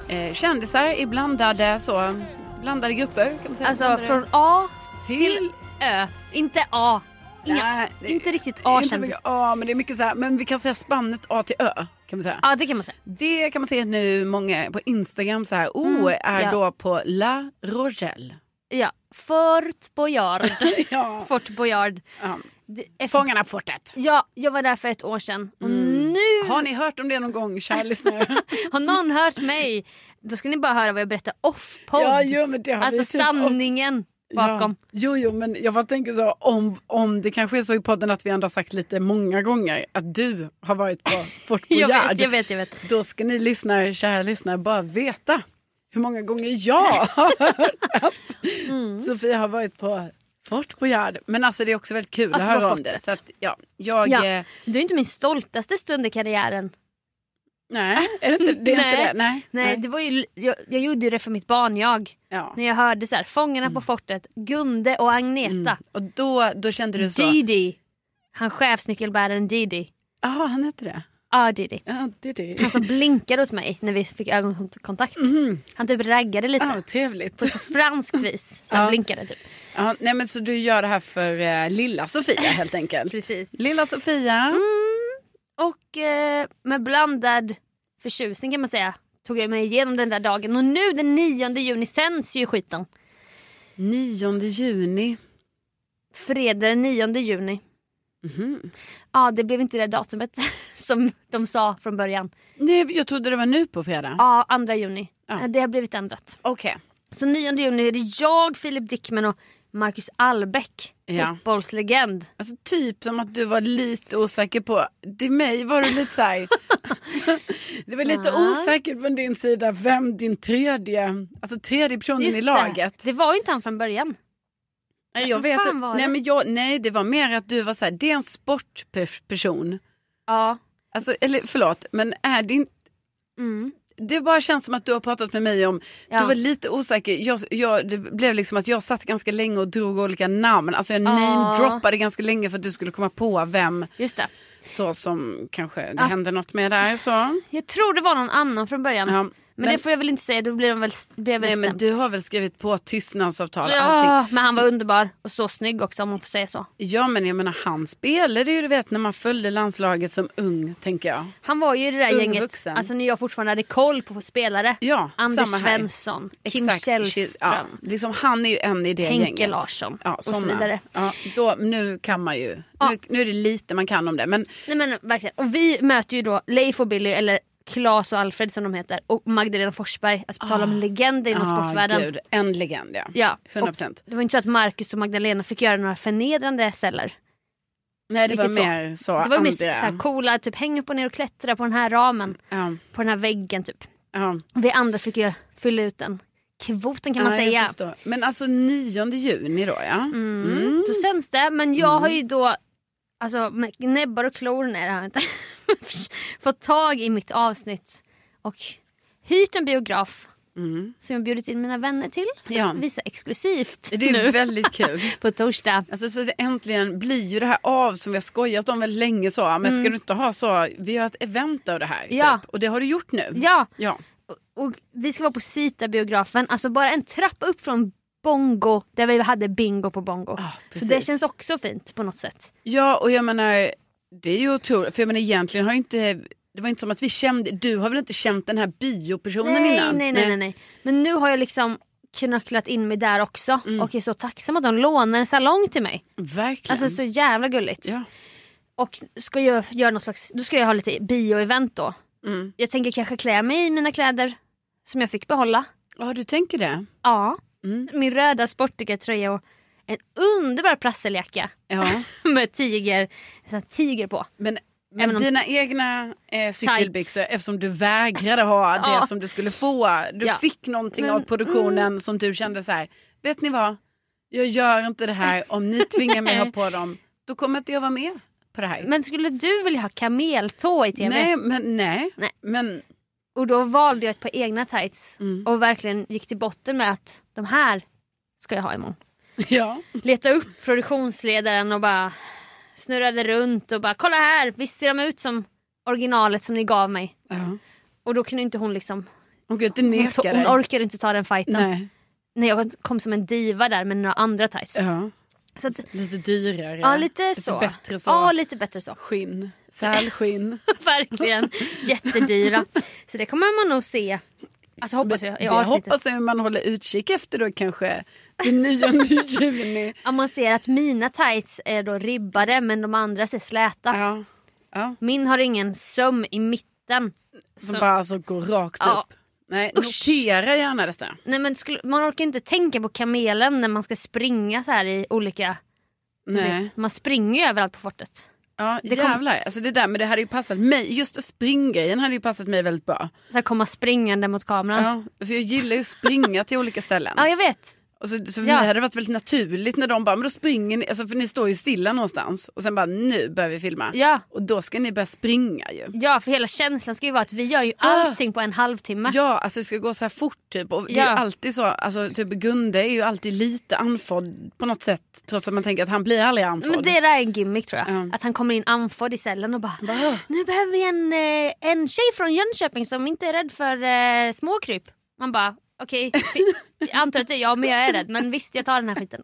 [SPEAKER 1] eh, kändisar i blandade, så, blandade grupper. Kan man säga.
[SPEAKER 2] Alltså
[SPEAKER 1] Blandade-
[SPEAKER 2] från A
[SPEAKER 1] till...
[SPEAKER 2] till Ö. Inte A. inga,
[SPEAKER 1] Nej, det-
[SPEAKER 2] inte riktigt
[SPEAKER 1] det är inte så mycket
[SPEAKER 2] A-kändis.
[SPEAKER 1] A, men det är mycket så här, men vi kan säga spannet A till Ö. Kan vi säga.
[SPEAKER 2] Ja det kan man säga.
[SPEAKER 1] Det kan man se nu många på Instagram så här, oh, är
[SPEAKER 2] Mm, ja.
[SPEAKER 1] då på La Rogelle.
[SPEAKER 2] Ja. Fort Boyard.
[SPEAKER 1] [laughs] Ja.
[SPEAKER 2] Fort Boyard.
[SPEAKER 1] Ja.
[SPEAKER 2] Det är-
[SPEAKER 1] Fångarna på fortet.
[SPEAKER 2] Ja, jag var där för ett år sedan. Och
[SPEAKER 1] Mm.
[SPEAKER 2] nu
[SPEAKER 1] Har ni hört om det någon gång
[SPEAKER 2] Alltså,
[SPEAKER 1] kära lyssnare?
[SPEAKER 2] har någon hört mig. Då ska ni bara höra vad jag berättar
[SPEAKER 1] [laughs]
[SPEAKER 2] off-podd.
[SPEAKER 1] Ja, jo, men det har
[SPEAKER 2] alltså
[SPEAKER 1] vi typ
[SPEAKER 2] sanningen bakom.
[SPEAKER 1] Ja. Jo, jo, men jag bara tänker så om, om det kanske är så i podden att vi ändå har sagt lite många gånger att du har varit på Fort
[SPEAKER 2] [laughs] Jag
[SPEAKER 1] Boyard.
[SPEAKER 2] vet, jag vet, jag vet.
[SPEAKER 1] Då ska ni lyssnare, kära lyssnare, bara veta hur många gånger
[SPEAKER 2] [laughs]
[SPEAKER 1] jag har hört att
[SPEAKER 2] Mm.
[SPEAKER 1] Sofia har varit på Fort Boyard. Men alltså det är också väldigt kul
[SPEAKER 2] Alltså,
[SPEAKER 1] att
[SPEAKER 2] på
[SPEAKER 1] höra om det.
[SPEAKER 2] fortet.
[SPEAKER 1] Så att, ja, jag,
[SPEAKER 2] Ja.
[SPEAKER 1] eh,
[SPEAKER 2] Du är inte min stoltaste stund i karriären.
[SPEAKER 1] nej, är det inte det? Är
[SPEAKER 2] Nej.
[SPEAKER 1] Inte det? Nej.
[SPEAKER 2] Nej,
[SPEAKER 1] nej.
[SPEAKER 2] Det var ju, jag, jag gjorde ju det för mitt barn jag.
[SPEAKER 1] Ja.
[SPEAKER 2] När jag hörde så här, Fångarna
[SPEAKER 1] Mm.
[SPEAKER 2] på fortet, Gunde och Agneta.
[SPEAKER 1] Och då, då kände du Mm. så,
[SPEAKER 2] Didi. Han chefsnyckelbäraren Didi.
[SPEAKER 1] ja han heter det.
[SPEAKER 2] Ja, Didi.
[SPEAKER 1] Ja, det är det.
[SPEAKER 2] Han som blinkade åt mig när vi fick ögonkontakt. Han typ raggade lite.
[SPEAKER 1] Mhm. Ah, vad trevligt.
[SPEAKER 2] På så fransk vis. Så han blinkade typ.
[SPEAKER 1] Ja, nej, men så du gör det här för eh, lilla Sofia helt
[SPEAKER 2] [laughs]
[SPEAKER 1] enkelt? Mm.
[SPEAKER 2] Precis.
[SPEAKER 1] Lilla Sofia.
[SPEAKER 2] Och eh, med blandad förtjusning kan man säga tog jag mig igenom den där dagen. Och nu den 9 juni sänds ju skiten.
[SPEAKER 1] 9 juni.
[SPEAKER 2] Fredag den 9 juni.
[SPEAKER 1] Mhm.
[SPEAKER 2] Ja, det blev inte det datumet [laughs] som de sa från början.
[SPEAKER 1] Nej, jag trodde det var nu på fredag.
[SPEAKER 2] Ja, 2 juni. Eh,
[SPEAKER 1] Ja.
[SPEAKER 2] Det har blivit ändrat.
[SPEAKER 1] Okej.
[SPEAKER 2] Så 9 juni är det jag, Filip Dickman och Marcus Albeck,
[SPEAKER 1] Ja.
[SPEAKER 2] fotbollslegend.
[SPEAKER 1] Alltså typ som att du var lite osäker på, till mig var du lite
[SPEAKER 2] [laughs]
[SPEAKER 1] såhär, det var lite osäkert från din sida vem din tredje, alltså tredje personen i
[SPEAKER 2] Just
[SPEAKER 1] laget.
[SPEAKER 2] Det. det var ju inte han från början.
[SPEAKER 1] Nej, jag
[SPEAKER 2] Vem
[SPEAKER 1] vet,
[SPEAKER 2] fan var
[SPEAKER 1] nej,
[SPEAKER 2] det?
[SPEAKER 1] men jag, nej det var mer att du var såhär, det är en sportperson.
[SPEAKER 2] Ja.
[SPEAKER 1] Alltså, eller förlåt, men är det inte... Det bara känns som att du har pratat med mig om,
[SPEAKER 2] Mm. Ja.
[SPEAKER 1] du var lite osäker, jag, jag, det blev liksom att jag satt ganska länge och drog olika namn, alltså jag namedroppade ganska länge för att du skulle komma på vem
[SPEAKER 2] Just det.
[SPEAKER 1] så som kanske det
[SPEAKER 2] Ah.
[SPEAKER 1] hände något med där. Så.
[SPEAKER 2] Jag tror det var någon annan från början.
[SPEAKER 1] Ja,
[SPEAKER 2] men,
[SPEAKER 1] men-
[SPEAKER 2] det får jag väl inte säga, då blir de väl, blir jag väl
[SPEAKER 1] Nej men
[SPEAKER 2] stämd.
[SPEAKER 1] du har väl skrivit på tystnadsavtal och
[SPEAKER 2] ja,
[SPEAKER 1] allting.
[SPEAKER 2] men han var underbar och så snygg också om man får säga så.
[SPEAKER 1] Ja men jag menar han spelade ju du vet när man följde landslaget som ung tänker jag.
[SPEAKER 2] Han var ju i det där
[SPEAKER 1] Ung
[SPEAKER 2] gänget,
[SPEAKER 1] vuxen.
[SPEAKER 2] alltså när jag fortfarande hade koll på spelare.
[SPEAKER 1] Ja,
[SPEAKER 2] Anders
[SPEAKER 1] samma här.
[SPEAKER 2] Svensson, Kim
[SPEAKER 1] Exakt. Ja,
[SPEAKER 2] Källström,
[SPEAKER 1] liksom, han är ju en i det
[SPEAKER 2] Henke
[SPEAKER 1] gänget.
[SPEAKER 2] Larsson
[SPEAKER 1] Ja,
[SPEAKER 2] och
[SPEAKER 1] såna.
[SPEAKER 2] så vidare.
[SPEAKER 1] Ja, då, nu kan man ju, nu, nu är det lite man kan om det. Men
[SPEAKER 2] Nej men verkligen. Och vi möter ju då Leif och Billy, eller Claes och Alfred som de heter, och Magdalena Forsberg. Alltså på tal om legender inom
[SPEAKER 1] ah,
[SPEAKER 2] sportvärlden.
[SPEAKER 1] gud, en legend ja.
[SPEAKER 2] Ja, och
[SPEAKER 1] 100%.
[SPEAKER 2] det var inte så att Marcus och Magdalena fick göra några förnedrande celler.
[SPEAKER 1] Nej det var
[SPEAKER 2] riktigt så.
[SPEAKER 1] mer så,
[SPEAKER 2] Det var ju
[SPEAKER 1] andra.
[SPEAKER 2] mest så här coola, typ häng upp och ner och klättra på den här ramen,
[SPEAKER 1] ja,
[SPEAKER 2] på den här väggen typ.
[SPEAKER 1] ja.
[SPEAKER 2] Vi andra fick ju fylla ut den kvoten kan man
[SPEAKER 1] ja, jag
[SPEAKER 2] säga.
[SPEAKER 1] förstår. Men alltså 9 juni då ja.
[SPEAKER 2] Mm. Då sänds det, men jag
[SPEAKER 1] Mm.
[SPEAKER 2] har ju då alltså, med näbbar och klor, nej det har jag inte, [laughs] fått tag i mitt avsnitt och hyrt en biograf som jag bjudit in mina vänner till. Ska
[SPEAKER 1] Mm. Ja.
[SPEAKER 2] visa exklusivt
[SPEAKER 1] Det är ju
[SPEAKER 2] nu
[SPEAKER 1] väldigt kul.
[SPEAKER 2] på torsdag.
[SPEAKER 1] Alltså, så det äntligen blir ju det här av som vi har skojat om väldigt länge. Så, men ska du inte ha så, vi har ett event av det här.
[SPEAKER 2] Mm. Ja.
[SPEAKER 1] Typ. Och det har du gjort nu.
[SPEAKER 2] Ja,
[SPEAKER 1] ja.
[SPEAKER 2] och, och vi ska vara på Sita-biografen, alltså bara en trappa upp från Bongo där vi hade bingo på Bongo. Ah, Så
[SPEAKER 1] Ah, precis.
[SPEAKER 2] det känns också fint på något sätt.
[SPEAKER 1] Ja, och jag menar, det är ju otroligt. För jag menar egentligen har ju inte, det var inte som att vi kände, du har väl inte känt den här biopersonen
[SPEAKER 2] nej,
[SPEAKER 1] innan?
[SPEAKER 2] Nej, nej, nej, nej. Men nu har jag liksom knucklat in mig där också
[SPEAKER 1] Mm.
[SPEAKER 2] och är så tacksam att de lånar en salong till mig.
[SPEAKER 1] Verkligen.
[SPEAKER 2] Alltså så jävla gulligt.
[SPEAKER 1] ja.
[SPEAKER 2] Och ska jag göra något slags, då ska jag ha lite bio-event då.
[SPEAKER 1] Mm.
[SPEAKER 2] Jag tänker kanske klä mig i mina kläder som jag fick behålla.
[SPEAKER 1] ja, du tänker det?
[SPEAKER 2] Ja.
[SPEAKER 1] Mm.
[SPEAKER 2] Min röda sportiga-tröja och en underbar prasseljacka
[SPEAKER 1] Ja.
[SPEAKER 2] [laughs] med tiger, så här tiger på.
[SPEAKER 1] Men, men
[SPEAKER 2] Även om-
[SPEAKER 1] dina egna eh, cykelbyxor, eftersom du vägrade
[SPEAKER 2] [laughs]
[SPEAKER 1] ha det
[SPEAKER 2] Ja.
[SPEAKER 1] som du skulle få. Du
[SPEAKER 2] Ja.
[SPEAKER 1] fick någonting
[SPEAKER 2] Men, mm.
[SPEAKER 1] av produktionen som du kände så här, vet ni vad? Jag gör inte det här om ni tvingar
[SPEAKER 2] [laughs]
[SPEAKER 1] mig att ha på dem. Då kommer inte jag vara med på det här.
[SPEAKER 2] Men skulle du vilja ha kameltå i tv?
[SPEAKER 1] nej, men nej.
[SPEAKER 2] Nej.
[SPEAKER 1] Men [laughs]
[SPEAKER 2] Och då valde jag ett par egna tights
[SPEAKER 1] Mm.
[SPEAKER 2] och verkligen gick till botten med att de här ska jag ha imorgon.
[SPEAKER 1] ja.
[SPEAKER 2] Leta upp produktionsledaren och bara snurrade runt och bara kolla här, visst ser de ut som originalet som ni gav mig?
[SPEAKER 1] ja.
[SPEAKER 2] Och då kunde inte hon liksom,
[SPEAKER 1] Hon kan inte
[SPEAKER 2] hon, to-
[SPEAKER 1] neka
[SPEAKER 2] hon
[SPEAKER 1] dig.
[SPEAKER 2] orkade inte ta den fighten.
[SPEAKER 1] Nej.
[SPEAKER 2] När jag kom som en diva där med några andra tights.
[SPEAKER 1] Ja.
[SPEAKER 2] Så att,
[SPEAKER 1] Lite dyrare.
[SPEAKER 2] ja, lite så.
[SPEAKER 1] bättre så.
[SPEAKER 2] Ja, lite bättre så.
[SPEAKER 1] Skinn. Sälskinn.
[SPEAKER 2] [laughs] Verkligen. Jättedyra. Så det kommer man nog se. Alltså hoppas jag i
[SPEAKER 1] det
[SPEAKER 2] avsnittet.
[SPEAKER 1] hoppas jag man håller utkik efter då kanske. Den
[SPEAKER 2] [laughs]
[SPEAKER 1] 9 juni.
[SPEAKER 2] Om man ser att mina tights är då ribbade men de andra ser släta.
[SPEAKER 1] Ja. ja.
[SPEAKER 2] Min har ingen söm i mitten.
[SPEAKER 1] Som
[SPEAKER 2] Så-
[SPEAKER 1] bara så går rakt
[SPEAKER 2] Ja.
[SPEAKER 1] upp. Nej,
[SPEAKER 2] Usch.
[SPEAKER 1] notera gärna detta.
[SPEAKER 2] Nej, men skulle, man orkar inte tänka på kamelen när man ska springa så här i olika... du
[SPEAKER 1] Nej.
[SPEAKER 2] Vet, man springer ju överallt på fortet.
[SPEAKER 1] Ja,
[SPEAKER 2] Det kom-
[SPEAKER 1] jävlar. Alltså det där, men det hade ju passat mig. Just springgrejen hade ju passat mig väldigt bra.
[SPEAKER 2] Så här komma springande mot kameran. Ja,
[SPEAKER 1] Ja, för jag gillar ju att springa till olika
[SPEAKER 2] [laughs]
[SPEAKER 1] ställen.
[SPEAKER 2] jag vet.
[SPEAKER 1] Och så, så för
[SPEAKER 2] Ja.
[SPEAKER 1] mig hade det varit väldigt naturligt när de bara, men då springer ni, alltså för ni står ju stilla någonstans och sen bara nu börjar vi filma.
[SPEAKER 2] Ja.
[SPEAKER 1] Och då ska ni börja springa ju.
[SPEAKER 2] Ja, för hela känslan ska ju vara att vi gör ju
[SPEAKER 1] Ah.
[SPEAKER 2] allting på en halvtimme.
[SPEAKER 1] Ja, alltså det ska gå så här fort typ. Och det är
[SPEAKER 2] Ja.
[SPEAKER 1] ju alltid så, alltså typ Gunde är ju alltid lite andfådd på något sätt. Trots att man tänker att han blir aldrig andfådd.
[SPEAKER 2] Men det där är en gimmick tror jag.
[SPEAKER 1] Ja.
[SPEAKER 2] Att han kommer in andfådd i cellen och bara Nu behöver vi en, eh, en tjej från Jönköping som inte är rädd för eh, småkryp. Man bara okej, fi- jag antar att det är jag men jag är rädd men visst jag tar den här skiten.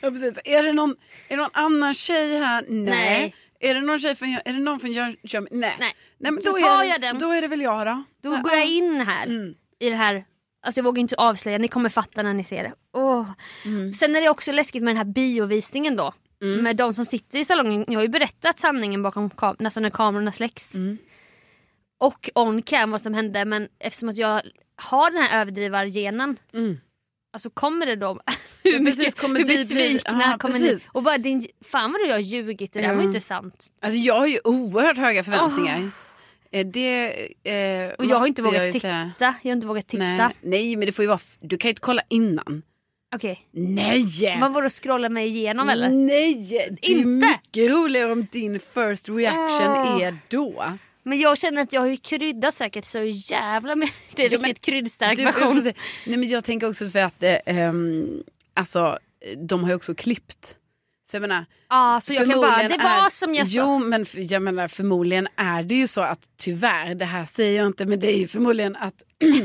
[SPEAKER 1] Ja, precis. Är, det någon, är det någon annan tjej här? Nej.
[SPEAKER 2] Nej.
[SPEAKER 1] Är det någon tjej från, Jö- är det någon från Jönköping? Nej.
[SPEAKER 2] Nej.
[SPEAKER 1] men
[SPEAKER 2] Då
[SPEAKER 1] är
[SPEAKER 2] tar
[SPEAKER 1] det-
[SPEAKER 2] jag den.
[SPEAKER 1] Då är det väl jag då.
[SPEAKER 2] Då
[SPEAKER 1] Nej,
[SPEAKER 2] går
[SPEAKER 1] ja. Mm.
[SPEAKER 2] jag in här i det här Alltså jag vågar inte avslöja, ni kommer fatta när ni ser det. Åh.
[SPEAKER 1] Mm.
[SPEAKER 2] Sen är det också läskigt med den här biovisningen då. Med de som sitter i salongen, jag har ju berättat sanningen bakom kam- alltså när kamerorna släcks.
[SPEAKER 1] Mm.
[SPEAKER 2] Och on cam vad som hände men eftersom att jag har den här överdrivargenen.
[SPEAKER 1] Mm.
[SPEAKER 2] Alltså kommer det då [laughs] hur,
[SPEAKER 1] Ja, precis,
[SPEAKER 2] mycket,
[SPEAKER 1] kommer
[SPEAKER 2] hur
[SPEAKER 1] vi bli-
[SPEAKER 2] besvikna
[SPEAKER 1] Ja,
[SPEAKER 2] kommer ni?
[SPEAKER 1] precis.
[SPEAKER 2] Och bara din, fan vad du har ljugit, det där var
[SPEAKER 1] Ja.
[SPEAKER 2] ju inte sant.
[SPEAKER 1] Alltså jag har ju oerhört höga förväntningar. Eh, Det eh,
[SPEAKER 2] Och jag har
[SPEAKER 1] måste
[SPEAKER 2] inte vågat
[SPEAKER 1] jag ju
[SPEAKER 2] titta,
[SPEAKER 1] säga.
[SPEAKER 2] jag har inte vågat titta.
[SPEAKER 1] Nej, nej men det får ju vara, f- du kan ju inte kolla innan.
[SPEAKER 2] Okej.
[SPEAKER 1] Nej!
[SPEAKER 2] Vad var det att scrolla mig igenom eller?
[SPEAKER 1] Mm. Nej! Det är
[SPEAKER 2] Inte? Ah.
[SPEAKER 1] mycket roligare om din first reaction
[SPEAKER 2] Åh.
[SPEAKER 1] är då.
[SPEAKER 2] Men jag känner att jag har ju kryddat säkert så jävla mycket. [laughs] Det är
[SPEAKER 1] Ja, men
[SPEAKER 2] riktigt kryddstark
[SPEAKER 1] Du,
[SPEAKER 2] version.
[SPEAKER 1] jag, [laughs] nej, men jag tänker också för att eh, ehm, alltså, de har ju också klippt. Så jag menar,
[SPEAKER 2] Ja, så jag kan bara, det
[SPEAKER 1] förmodligen
[SPEAKER 2] var
[SPEAKER 1] är,
[SPEAKER 2] som jag sa.
[SPEAKER 1] Jo, men f- jag menar förmodligen är det ju så att tyvärr, det här säger jag inte, men det är ju förmodligen att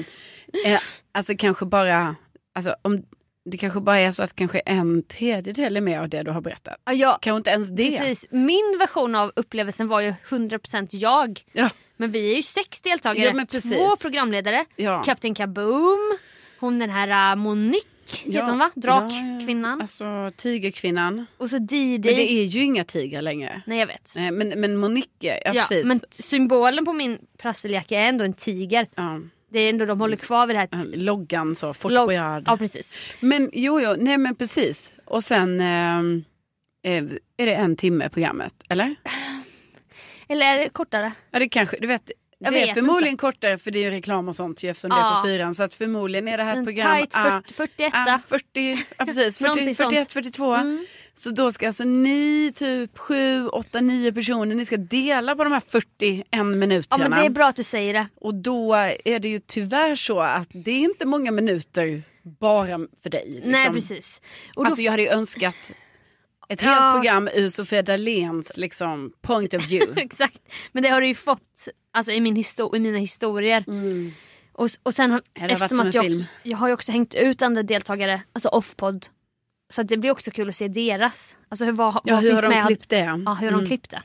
[SPEAKER 1] [clears throat] eh, alltså kanske bara, alltså om det kanske bara är så att kanske en tredjedel är med av det du har berättat.
[SPEAKER 2] Ja, ja,
[SPEAKER 1] Kanske inte ens det.
[SPEAKER 2] precis. Min version av upplevelsen var ju 100% jag.
[SPEAKER 1] Ja,
[SPEAKER 2] Men vi är ju sex deltagare,
[SPEAKER 1] Ja, men precis.
[SPEAKER 2] två programledare,
[SPEAKER 1] ja.
[SPEAKER 2] Kapten Kaboom, hon den här äh, Monique heter
[SPEAKER 1] Ja,
[SPEAKER 2] hon va?
[SPEAKER 1] ja, ja.
[SPEAKER 2] Drakkvinnan.
[SPEAKER 1] Alltså tigerkvinnan. Men
[SPEAKER 2] Och så Didi.
[SPEAKER 1] det är ju inga tigrar längre.
[SPEAKER 2] Nej jag vet.
[SPEAKER 1] Nej, Men, men Monique, ja, precis.
[SPEAKER 2] men symbolen på min prasseljacka är ändå en tiger.
[SPEAKER 1] Ja,
[SPEAKER 2] Det är ändå de håller kvar vid det här.
[SPEAKER 1] ja,
[SPEAKER 2] t-
[SPEAKER 1] loggan så, Fort
[SPEAKER 2] log-
[SPEAKER 1] Boyard.
[SPEAKER 2] Ja precis.
[SPEAKER 1] Men jo, jo, nej men precis. Och sen ehm, eh, är det en timme programmet, eller?
[SPEAKER 2] Eller är det kortare?
[SPEAKER 1] Ja, det kanske, du vet, det
[SPEAKER 2] Jag
[SPEAKER 1] är
[SPEAKER 2] vet
[SPEAKER 1] förmodligen kortare för det är ju reklam och sånt ju eftersom det är
[SPEAKER 2] Ja.
[SPEAKER 1] på fyran. Så att förmodligen är det här ett
[SPEAKER 2] En
[SPEAKER 1] program...
[SPEAKER 2] tight
[SPEAKER 1] ah,
[SPEAKER 2] 40, 41.
[SPEAKER 1] ah, 40, ja, precis, 40,
[SPEAKER 2] Någonting sånt.
[SPEAKER 1] 41, 42.
[SPEAKER 2] Mm.
[SPEAKER 1] Så då ska alltså ni, typ 7, 8, 9 personer, ni ska dela på de här 41
[SPEAKER 2] Ja
[SPEAKER 1] minuterna.
[SPEAKER 2] men det är bra att du säger det.
[SPEAKER 1] Och då är det ju tyvärr så att det är inte många minuter bara för dig. Liksom.
[SPEAKER 2] Nej precis. Och då,
[SPEAKER 1] Alltså jag hade ju önskat ett
[SPEAKER 2] Ja.
[SPEAKER 1] helt program ur Sofia Dahléns liksom, point of view.
[SPEAKER 2] [laughs] exakt. Men det har du ju fått alltså, i, min histo- i mina historier. Och, s- och sen har,
[SPEAKER 1] Mm. det har varit
[SPEAKER 2] eftersom
[SPEAKER 1] som
[SPEAKER 2] att
[SPEAKER 1] en
[SPEAKER 2] jag,
[SPEAKER 1] film.
[SPEAKER 2] också, jag har ju också hängt ut andra deltagare, alltså offpod. Så att det blir också kul att se deras. Alltså hur, vad,
[SPEAKER 1] Ja,
[SPEAKER 2] vad
[SPEAKER 1] hur
[SPEAKER 2] finns
[SPEAKER 1] har de
[SPEAKER 2] med?
[SPEAKER 1] klippt Mm. det?
[SPEAKER 2] Ja, hur har de klippt det?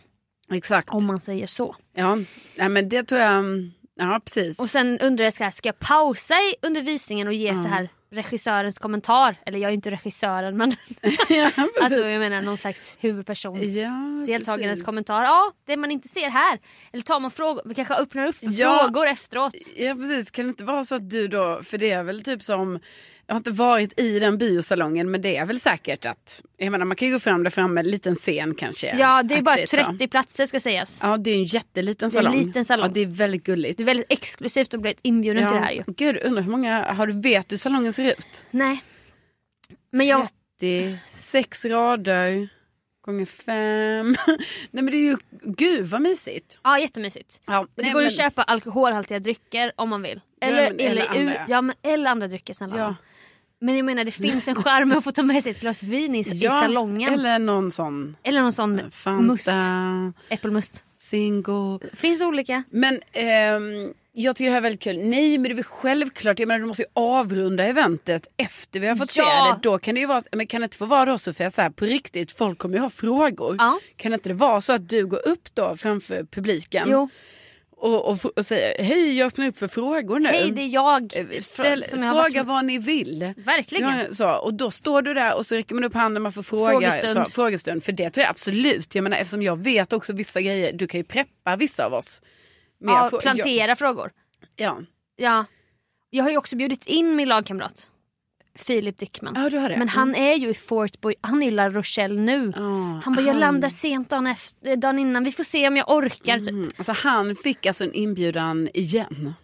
[SPEAKER 1] Exakt.
[SPEAKER 2] Om man säger så.
[SPEAKER 1] Ja, Nej, men det tror jag... mm, Ja, precis.
[SPEAKER 2] Och sen undrar jag, så här, ska jag pausa i undervisningen och ge så här regissörens kommentar? Eller jag är ju inte
[SPEAKER 1] [laughs]
[SPEAKER 2] regissören men
[SPEAKER 1] [laughs] ja, precis.
[SPEAKER 2] alltså, jag menar någon slags huvudperson.
[SPEAKER 1] ja,
[SPEAKER 2] deltagarens
[SPEAKER 1] precis.
[SPEAKER 2] kommentar. Ja, det man inte ser här. Eller tar man frågor, vi kanske öppnar upp för
[SPEAKER 1] Ja.
[SPEAKER 2] frågor efteråt.
[SPEAKER 1] Ja, precis. Kan det inte vara så att du då... För det är väl typ som... Jag har inte varit i den biosalongen, men det är väl säkert att... Jag menar, man kan ju gå fram där framme, en liten scen kanske.
[SPEAKER 2] Ja, det är bara
[SPEAKER 1] aktigt, så.
[SPEAKER 2] 30 platser ska sägas.
[SPEAKER 1] Ja, det är en jätteliten
[SPEAKER 2] Det är en
[SPEAKER 1] salong.
[SPEAKER 2] liten salong.
[SPEAKER 1] Ja, det är väldigt gulligt.
[SPEAKER 2] Det är väldigt exklusivt att bli inbjuden till det här ju.
[SPEAKER 1] Gud, undrar hur många... Har du, vet du hur salongen ser ut?
[SPEAKER 2] Nej. Men jag,
[SPEAKER 1] 36 rader gånger fem. [laughs] Nej men det är ju, gud vad mysigt.
[SPEAKER 2] ja jättemysigt.
[SPEAKER 1] Ja,
[SPEAKER 2] Men det går ju att köpa alkoholhaltiga drycker om man vill.
[SPEAKER 1] Ja,
[SPEAKER 2] Eller,
[SPEAKER 1] men
[SPEAKER 2] eller,
[SPEAKER 1] eller
[SPEAKER 2] ur-
[SPEAKER 1] andra.
[SPEAKER 2] ja, men, eller andra drycker snälla.
[SPEAKER 1] ja,
[SPEAKER 2] Men jag menar det finns en charm med att få ta med sig ett glas vin i, i
[SPEAKER 1] ja,
[SPEAKER 2] salongen. Eller,
[SPEAKER 1] Eller någon sån
[SPEAKER 2] någon sån
[SPEAKER 1] Fanta,
[SPEAKER 2] must, äppelmust.
[SPEAKER 1] Zingo.
[SPEAKER 2] Finns olika.
[SPEAKER 1] Men ehm, jag tycker det här är väldigt kul. Nej, men det är väl självklart. Jag menar, du måste ju avrunda eventet efter vi har fått
[SPEAKER 2] Ja.
[SPEAKER 1] se det. Då kan det ju vara, men kan det inte få vara då Sofia, så här, på riktigt, folk kommer ju ha frågor.
[SPEAKER 2] Ja.
[SPEAKER 1] Kan inte det vara så att du går upp då framför publiken
[SPEAKER 2] Jo,
[SPEAKER 1] och, och, f- och säger hej, jag öppnar upp för frågor nu.
[SPEAKER 2] hej det är jag
[SPEAKER 1] Eh,
[SPEAKER 2] fr-
[SPEAKER 1] Ställ,
[SPEAKER 2] som jag har varit
[SPEAKER 1] fråga
[SPEAKER 2] med.
[SPEAKER 1] vad ni vill.
[SPEAKER 2] Verkligen.
[SPEAKER 1] Ja, så, och då står du där och så räcker man upp handen man får fråga.
[SPEAKER 2] Frågestund.
[SPEAKER 1] Så, frågestund. För det tror jag absolut. Jag menar, eftersom jag vet också vissa grejer. Du kan ju preppa vissa av oss. Med
[SPEAKER 2] Ja,
[SPEAKER 1] frå-
[SPEAKER 2] plantera frågor.
[SPEAKER 1] Ja.
[SPEAKER 2] Ja. Jag har ju också bjudit in min lagkamrat Filip Dickman.
[SPEAKER 1] ja, du har det. Mm.
[SPEAKER 2] Men han är ju i Fort Boy, han är i La Rochelle nu.
[SPEAKER 1] Ja,
[SPEAKER 2] Han bara, jag landar sent dagen, efter, eh, dagen innan, vi får se om jag orkar. Typ.
[SPEAKER 1] Mm. Alltså, han fick alltså en inbjudan igen.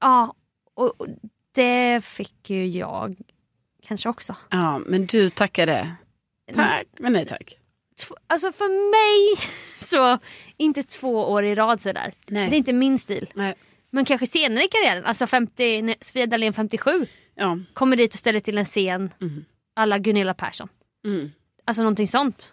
[SPEAKER 2] Ja, och och det fick ju jag kanske också.
[SPEAKER 1] Ja, men du tackade. Tack, men nej tack.
[SPEAKER 2] Tv- alltså för mig, [laughs] så inte två år i rad sådär.
[SPEAKER 1] Nej.
[SPEAKER 2] Det är inte min stil.
[SPEAKER 1] Nej.
[SPEAKER 2] Men kanske senare i karriären, alltså 50, när Sofia Dalén 57,
[SPEAKER 1] Ja. Mm.
[SPEAKER 2] kommer dit och ställer till en scen
[SPEAKER 1] Mhm.
[SPEAKER 2] alla Gunilla Persson.
[SPEAKER 1] Mm.
[SPEAKER 2] Alltså någonting sånt.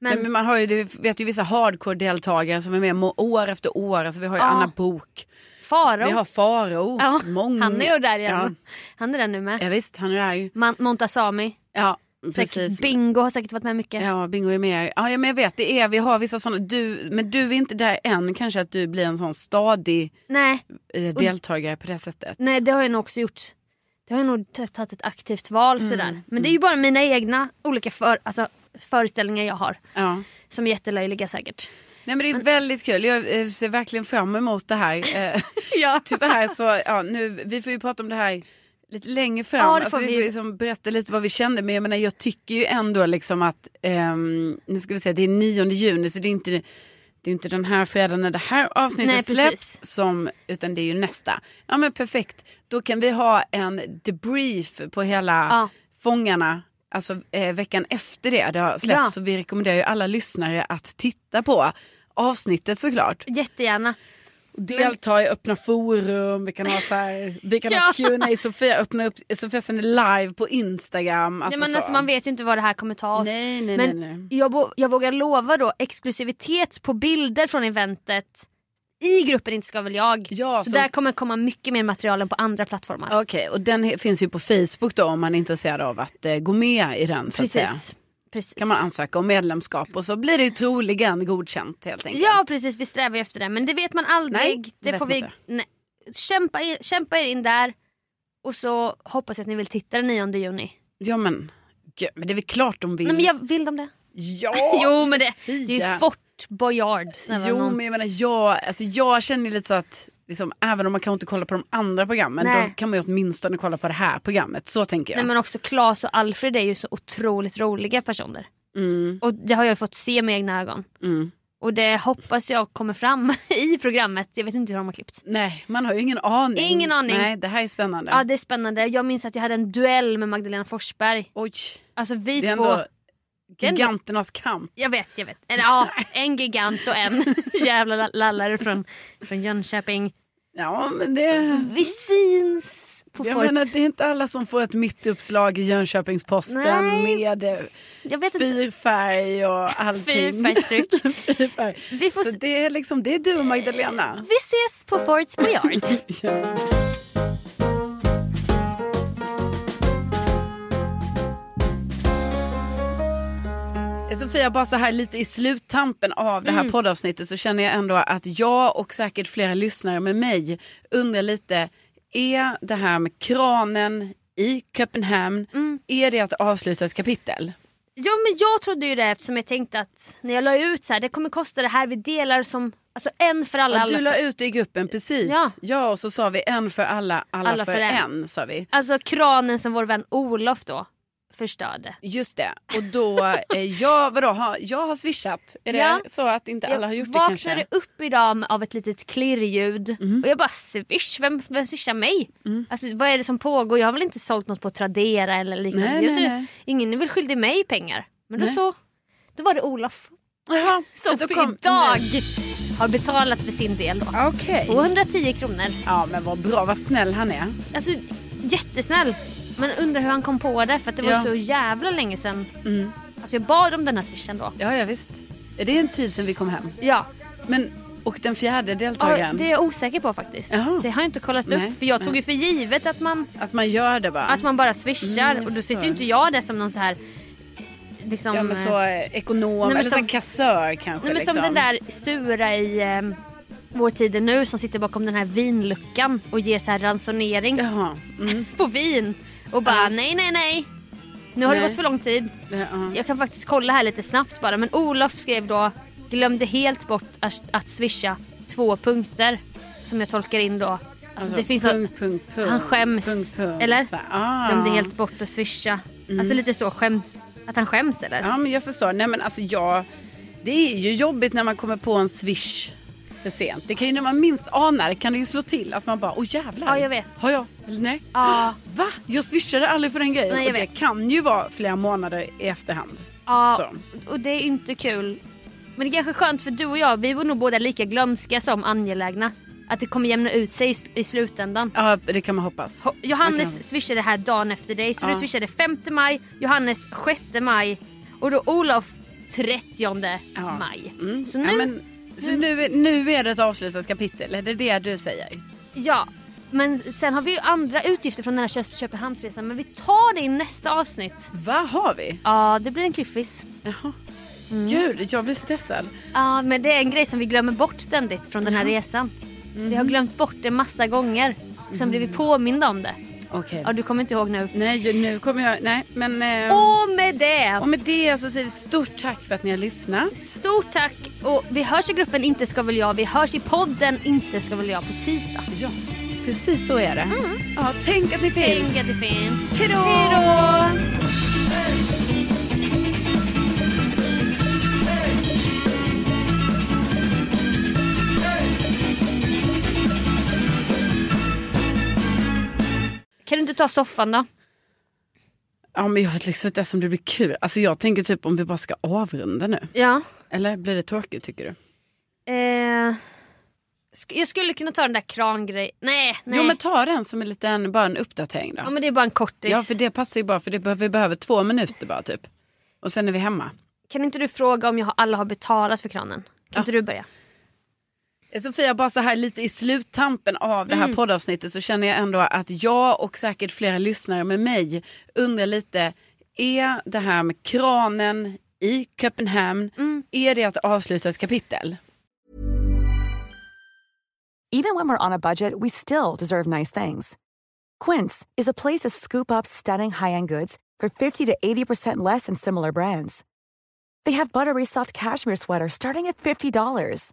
[SPEAKER 2] Men,
[SPEAKER 1] Men, men man har ju, du vet ju vissa hardcore-deltagare som är med må- år efter år. Alltså, vi har ju
[SPEAKER 2] Ja.
[SPEAKER 1] Anna Bok.
[SPEAKER 2] Faro,
[SPEAKER 1] Vi har Faro.
[SPEAKER 2] ja,
[SPEAKER 1] Många.
[SPEAKER 2] han är ju där igen.
[SPEAKER 1] Ja.
[SPEAKER 2] Han är där nu med.
[SPEAKER 1] Ja, visst, han är där.
[SPEAKER 2] Man, Montazami,
[SPEAKER 1] Ja,
[SPEAKER 2] säkert
[SPEAKER 1] precis.
[SPEAKER 2] Bingo har säkert varit med mycket.
[SPEAKER 1] Ja, bingo är mer. Ja, ja, men jag vet, det är, vi har vissa sådana. Du, men du är inte där än, kanske att du blir en sån stadig
[SPEAKER 2] Nej,
[SPEAKER 1] eh, deltagare på det sättet.
[SPEAKER 2] nej, det har jag nog också gjort. Det har jag nog t- tagit ett aktivt val
[SPEAKER 1] Mm,
[SPEAKER 2] sådär. Men det är ju bara mina egna olika för, alltså, föreställningar jag har.
[SPEAKER 1] Ja.
[SPEAKER 2] Som är
[SPEAKER 1] [laughs]
[SPEAKER 2] jättelöjliga säkert.
[SPEAKER 1] Nej, men det är väldigt kul. Jag eh, ser verkligen fram emot det här. Eh,
[SPEAKER 2] Ja.
[SPEAKER 1] Tyvärr så, ja, nu, vi får ju prata om det här lite längre fram.
[SPEAKER 2] Ja, det får
[SPEAKER 1] alltså, vi
[SPEAKER 2] vi
[SPEAKER 1] får
[SPEAKER 2] ju.
[SPEAKER 1] ju liksom berätta lite vad vi kände. Men jag menar, jag tycker ju ändå liksom att, ehm, nu ska vi säga, det är 9 juni så det är inte, det är inte den här fredagen när det här avsnittet
[SPEAKER 2] Nej, precis.
[SPEAKER 1] släpps. Som, utan det är ju nästa. Ja men perfekt, då kan vi ha en debrief på hela
[SPEAKER 2] Ja.
[SPEAKER 1] Fångarna. Alltså eh, veckan efter det, det har släppts.
[SPEAKER 2] Ja.
[SPEAKER 1] Så vi rekommenderar ju alla lyssnare att titta på avsnittet såklart.
[SPEAKER 2] Jättegärna.
[SPEAKER 1] Delta i öppna forum, vi kan ha så här, vi kan
[SPEAKER 2] [laughs] Ja.
[SPEAKER 1] ha Q&A Sofia öppnar upp, Sofia sänder live på Instagram. Alltså
[SPEAKER 2] nej, men
[SPEAKER 1] så.
[SPEAKER 2] alltså, man vet ju inte vad det här kommer ta oss.
[SPEAKER 1] Nej, nej,
[SPEAKER 2] men
[SPEAKER 1] nej, nej.
[SPEAKER 2] Jag, bo- jag vågar lova då exklusivitet på bilder från eventet i gruppen Inte ska väl jag.
[SPEAKER 1] Ja,
[SPEAKER 2] så,
[SPEAKER 1] så-
[SPEAKER 2] där kommer komma mycket mer material än på andra plattformar.
[SPEAKER 1] Okej, och den he- finns ju på Facebook då om man är intresserad av att eh, gå med i den. Så att säga.
[SPEAKER 2] precis. precis.
[SPEAKER 1] kan man ansöka om medlemskap och så blir det ju troligen godkänt helt enkelt.
[SPEAKER 2] ja precis, vi strävar ju efter det. Men det vet man aldrig.
[SPEAKER 1] Nej,
[SPEAKER 2] det
[SPEAKER 1] vet
[SPEAKER 2] får
[SPEAKER 1] man
[SPEAKER 2] vi...
[SPEAKER 1] inte.
[SPEAKER 2] Nej. Kämpa, i- kämpa er in där. Och så hoppas jag att ni vill titta den 9 juni.
[SPEAKER 1] ja men, gud, men det är väl klart de vill.
[SPEAKER 2] Nej men jag vill de det?
[SPEAKER 1] Ja!
[SPEAKER 2] [laughs] jo men det, det
[SPEAKER 1] Sofia.
[SPEAKER 2] är ju Fort Boyard. snälla
[SPEAKER 1] Jo
[SPEAKER 2] nån.
[SPEAKER 1] men jag menar jag, alltså jag känner ju lite så att liksom, även om man kanske inte kollar på de andra programmen
[SPEAKER 2] Nej.
[SPEAKER 1] då kan man ju åtminstone kolla på det här programmet. Så tänker jag.
[SPEAKER 2] Nej men också Claes och Alfred är ju så otroligt roliga personer.
[SPEAKER 1] Mm.
[SPEAKER 2] Och det har jag ju fått se med egna ögon.
[SPEAKER 1] Mm.
[SPEAKER 2] Och det hoppas jag kommer fram [laughs] i programmet. Jag vet inte hur de har klippt.
[SPEAKER 1] Nej, man har ju ingen aning.
[SPEAKER 2] Ingen aning.
[SPEAKER 1] Nej, det här är spännande.
[SPEAKER 2] Ja det är spännande. Jag minns att jag hade en duell med Magdalena Forsberg.
[SPEAKER 1] Oj,
[SPEAKER 2] Alltså vi
[SPEAKER 1] det är
[SPEAKER 2] två.
[SPEAKER 1] ändå
[SPEAKER 2] Det är ändå-
[SPEAKER 1] giganternas kamp.
[SPEAKER 2] Jag vet, jag vet. Eller, ja, en gigant och en
[SPEAKER 1] [laughs]
[SPEAKER 2] jävla la- lallare från, från Jönköping.
[SPEAKER 1] Ja, men det...
[SPEAKER 2] Vi syns på
[SPEAKER 1] Mm. Jag
[SPEAKER 2] Fort.
[SPEAKER 1] menar, det är inte alla som får ett mittuppslag i Jönköpings-Posten
[SPEAKER 2] Nej.
[SPEAKER 1] med eh,
[SPEAKER 2] jag vet inte.
[SPEAKER 1] fyrfärg och allting. [laughs]
[SPEAKER 2] Fyrfärgstryck.
[SPEAKER 1] Fyrfärg.
[SPEAKER 2] Vi får
[SPEAKER 1] Så
[SPEAKER 2] s-
[SPEAKER 1] det är liksom, det är du och Magdalena.
[SPEAKER 2] Vi ses på Forts [laughs] Boyard.
[SPEAKER 1] Ja. Eh, Sofia, bara så här lite i sluttampen av det här poddavsnittet så känner jag ändå att jag och säkert flera lyssnare med mig undrar lite, är det här med kranen i Köpenhamn, är det att avsluta ett kapitel?
[SPEAKER 2] Ja men jag trodde ju det eftersom jag tänkte att när jag la ut så här, det kommer kosta det här, vi delar som, alltså en för alla,
[SPEAKER 1] Ja,
[SPEAKER 2] alla
[SPEAKER 1] du la
[SPEAKER 2] för...
[SPEAKER 1] ut det i gruppen, precis.
[SPEAKER 2] Ja.
[SPEAKER 1] Ja. och så sa vi en för alla, alla, för, en. sa vi.
[SPEAKER 2] Alltså kranen som vår vän Olof då förstörde.
[SPEAKER 1] Just det. Och då, eh, jag, vadå, har, jag har swishat. Är det
[SPEAKER 2] Ja.
[SPEAKER 1] så att inte alla har gjort
[SPEAKER 2] jag
[SPEAKER 1] det kanske? Mhm.
[SPEAKER 2] vaknade upp idag med- av ett litet klirrljud och jag bara swish, vem, vem swishar mig?
[SPEAKER 1] Mm.
[SPEAKER 2] Alltså vad är det som pågår? Jag har väl inte sålt något på Tradera eller liknande.
[SPEAKER 1] Nej,
[SPEAKER 2] Jag
[SPEAKER 1] nej,
[SPEAKER 2] vet
[SPEAKER 1] nej.
[SPEAKER 2] Du, ingen är väl skyldig mig pengar. Men då
[SPEAKER 1] Nej.
[SPEAKER 2] så, då var det Olof
[SPEAKER 1] Jaha,
[SPEAKER 2] som
[SPEAKER 1] då kom-
[SPEAKER 2] idag har betalat för sin del då.
[SPEAKER 1] Okej.
[SPEAKER 2] 210 kronor.
[SPEAKER 1] Ja men vad bra, vad snäll han är.
[SPEAKER 2] Alltså jättesnäll. Men undrar hur han kom på det för att det var
[SPEAKER 1] Ja. Mm.
[SPEAKER 2] så jävla länge sedan. Alltså jag bad om den här swishen då.
[SPEAKER 1] Ja, ja visst. Är det en tid sedan vi kom hem?
[SPEAKER 2] Ja.
[SPEAKER 1] Men Och den fjärde
[SPEAKER 2] Ja,
[SPEAKER 1] deltagaren.
[SPEAKER 2] det är jag osäker på faktiskt.
[SPEAKER 1] Jaha.
[SPEAKER 2] Det har jag inte kollat
[SPEAKER 1] Nej,
[SPEAKER 2] upp. För jag tog
[SPEAKER 1] nej.
[SPEAKER 2] ju för givet att man,
[SPEAKER 1] Att man gör det bara.
[SPEAKER 2] att man bara swishar.
[SPEAKER 1] Mm, jag
[SPEAKER 2] och då sitter ju
[SPEAKER 1] förstår.
[SPEAKER 2] inte jag där som någon så här... Liksom,
[SPEAKER 1] ja, men
[SPEAKER 2] eh,
[SPEAKER 1] så eh, ekonom,
[SPEAKER 2] men
[SPEAKER 1] eller som,
[SPEAKER 2] som-
[SPEAKER 1] kassör kanske.
[SPEAKER 2] Nej, men
[SPEAKER 1] liksom.
[SPEAKER 2] Som den där sura i eh, Vår tid är nu som sitter bakom den här vinluckan och ger så här ransonering
[SPEAKER 1] Jaha. Mm.
[SPEAKER 2] på vin. Och bara
[SPEAKER 1] Ja.
[SPEAKER 2] nej, nej, nej. Nu har det
[SPEAKER 1] Nej.
[SPEAKER 2] gått för lång tid.
[SPEAKER 1] det- ja.
[SPEAKER 2] Jag kan faktiskt kolla här lite snabbt bara. Men Olof skrev då glömde helt bort att, att swisha två punkter. Som jag tolkar in då. Alltså, det finns något-
[SPEAKER 1] punkt, punkt, punkt,
[SPEAKER 2] han skäms.
[SPEAKER 1] Punkt, punkt.
[SPEAKER 2] Eller?
[SPEAKER 1] Så här, ah. Mm.
[SPEAKER 2] Glömde helt bort att swisha. Alltså lite så skäm, att han skäms eller?
[SPEAKER 1] Ja, men jag förstår. Nej, men alltså jag... Det är ju jobbigt när man kommer på en swish för sent. Det kan ju när man minst anar det kan det ju slå till att man bara, åh jävlar.
[SPEAKER 2] Ja, jag vet.
[SPEAKER 1] Har jag? Eller nej?
[SPEAKER 2] Ja.
[SPEAKER 1] Va? Jag swishade aldrig för den grejen.
[SPEAKER 2] Nej, jag
[SPEAKER 1] och det
[SPEAKER 2] vet.
[SPEAKER 1] kan ju vara flera månader i efterhand.
[SPEAKER 2] Ja,
[SPEAKER 1] Så.
[SPEAKER 2] och det är inte kul. Men det är kanske är skönt för du och jag, vi var nog båda lika glömska som angelägna. Att det kommer jämna ut sig i, i slutändan.
[SPEAKER 1] Ja, det kan man hoppas.
[SPEAKER 2] Ho-
[SPEAKER 1] Man kan-
[SPEAKER 2] Johannes swishade här dagen efter dig, så
[SPEAKER 1] Ja.
[SPEAKER 2] du swishade 5 maj, Johannes 6 maj och då Olof 30
[SPEAKER 1] Ja.
[SPEAKER 2] maj.
[SPEAKER 1] Mm.
[SPEAKER 2] Så nu, Mm.
[SPEAKER 1] ja, men, så nu, nu är det ett avslutat kapitel, är det det du säger?
[SPEAKER 2] sen har vi ju andra utgifter från den här Köp- Köpenhamnsresan men vi tar det i nästa avsnitt.
[SPEAKER 1] Vad har vi?
[SPEAKER 2] Ja, det blir en cliffis.
[SPEAKER 1] Jaha.
[SPEAKER 2] Mm.
[SPEAKER 1] Gud, jag blir stressad.
[SPEAKER 2] Ja, men det är en grej som vi glömmer bort ständigt från den här resan. Vi
[SPEAKER 1] Mhm.
[SPEAKER 2] har glömt bort det massa gånger. Och sen blir vi påminda om det.
[SPEAKER 1] Okej.
[SPEAKER 2] Ja, du kommer inte ihåg nu.
[SPEAKER 1] Mhm. Nej, nu kommer jag... Nej, men... ehm,
[SPEAKER 2] Och med det!
[SPEAKER 1] Och med det så säger vi stort tack för att ni har lyssnat.
[SPEAKER 2] Stort tack! Och vi hörs i gruppen Inte ska väl jag. Vi hörs i podden Inte ska väl jag på tisdag.
[SPEAKER 1] Ja, precis så är det. Ja, tänk att ni finns.
[SPEAKER 2] Tänk att det finns.
[SPEAKER 1] Hejdå!
[SPEAKER 2] Hejdå! Kan du inte ta soffan då?
[SPEAKER 1] Ja, men jag vet liksom inte ens om det blir kul. Alltså jag tänker typ om vi bara ska avrunda nu.
[SPEAKER 2] Ja.
[SPEAKER 1] Eller blir det tråkigt tycker du?
[SPEAKER 2] Eh, sk- jag skulle kunna ta den där krangrejen. Nej, nej.
[SPEAKER 1] Jo men ta den som en liten, bara en uppdatering då.
[SPEAKER 2] ja, men det är bara en kortis.
[SPEAKER 1] Ja, för det passar ju bara för det, be- vi behöver två minuter bara typ. Och sen är vi hemma.
[SPEAKER 2] Kan inte du fråga om jag har, alla har betalat för kranen? Kan inte du börja?
[SPEAKER 1] Sofia, bara så här lite i sluttampen av det här poddavsnittet så känner jag ändå att jag och säkert flera lyssnare med mig undrar lite, är det här med kranen i Köpenhamn, är det att avsluta ett kapitel?
[SPEAKER 3] Even when we're on a budget, we still deserve nice things. Quince is a place to scoop up stunning high end goods for 50 to 80% less than similar brands. They have buttery soft cashmere sweaters starting at $50,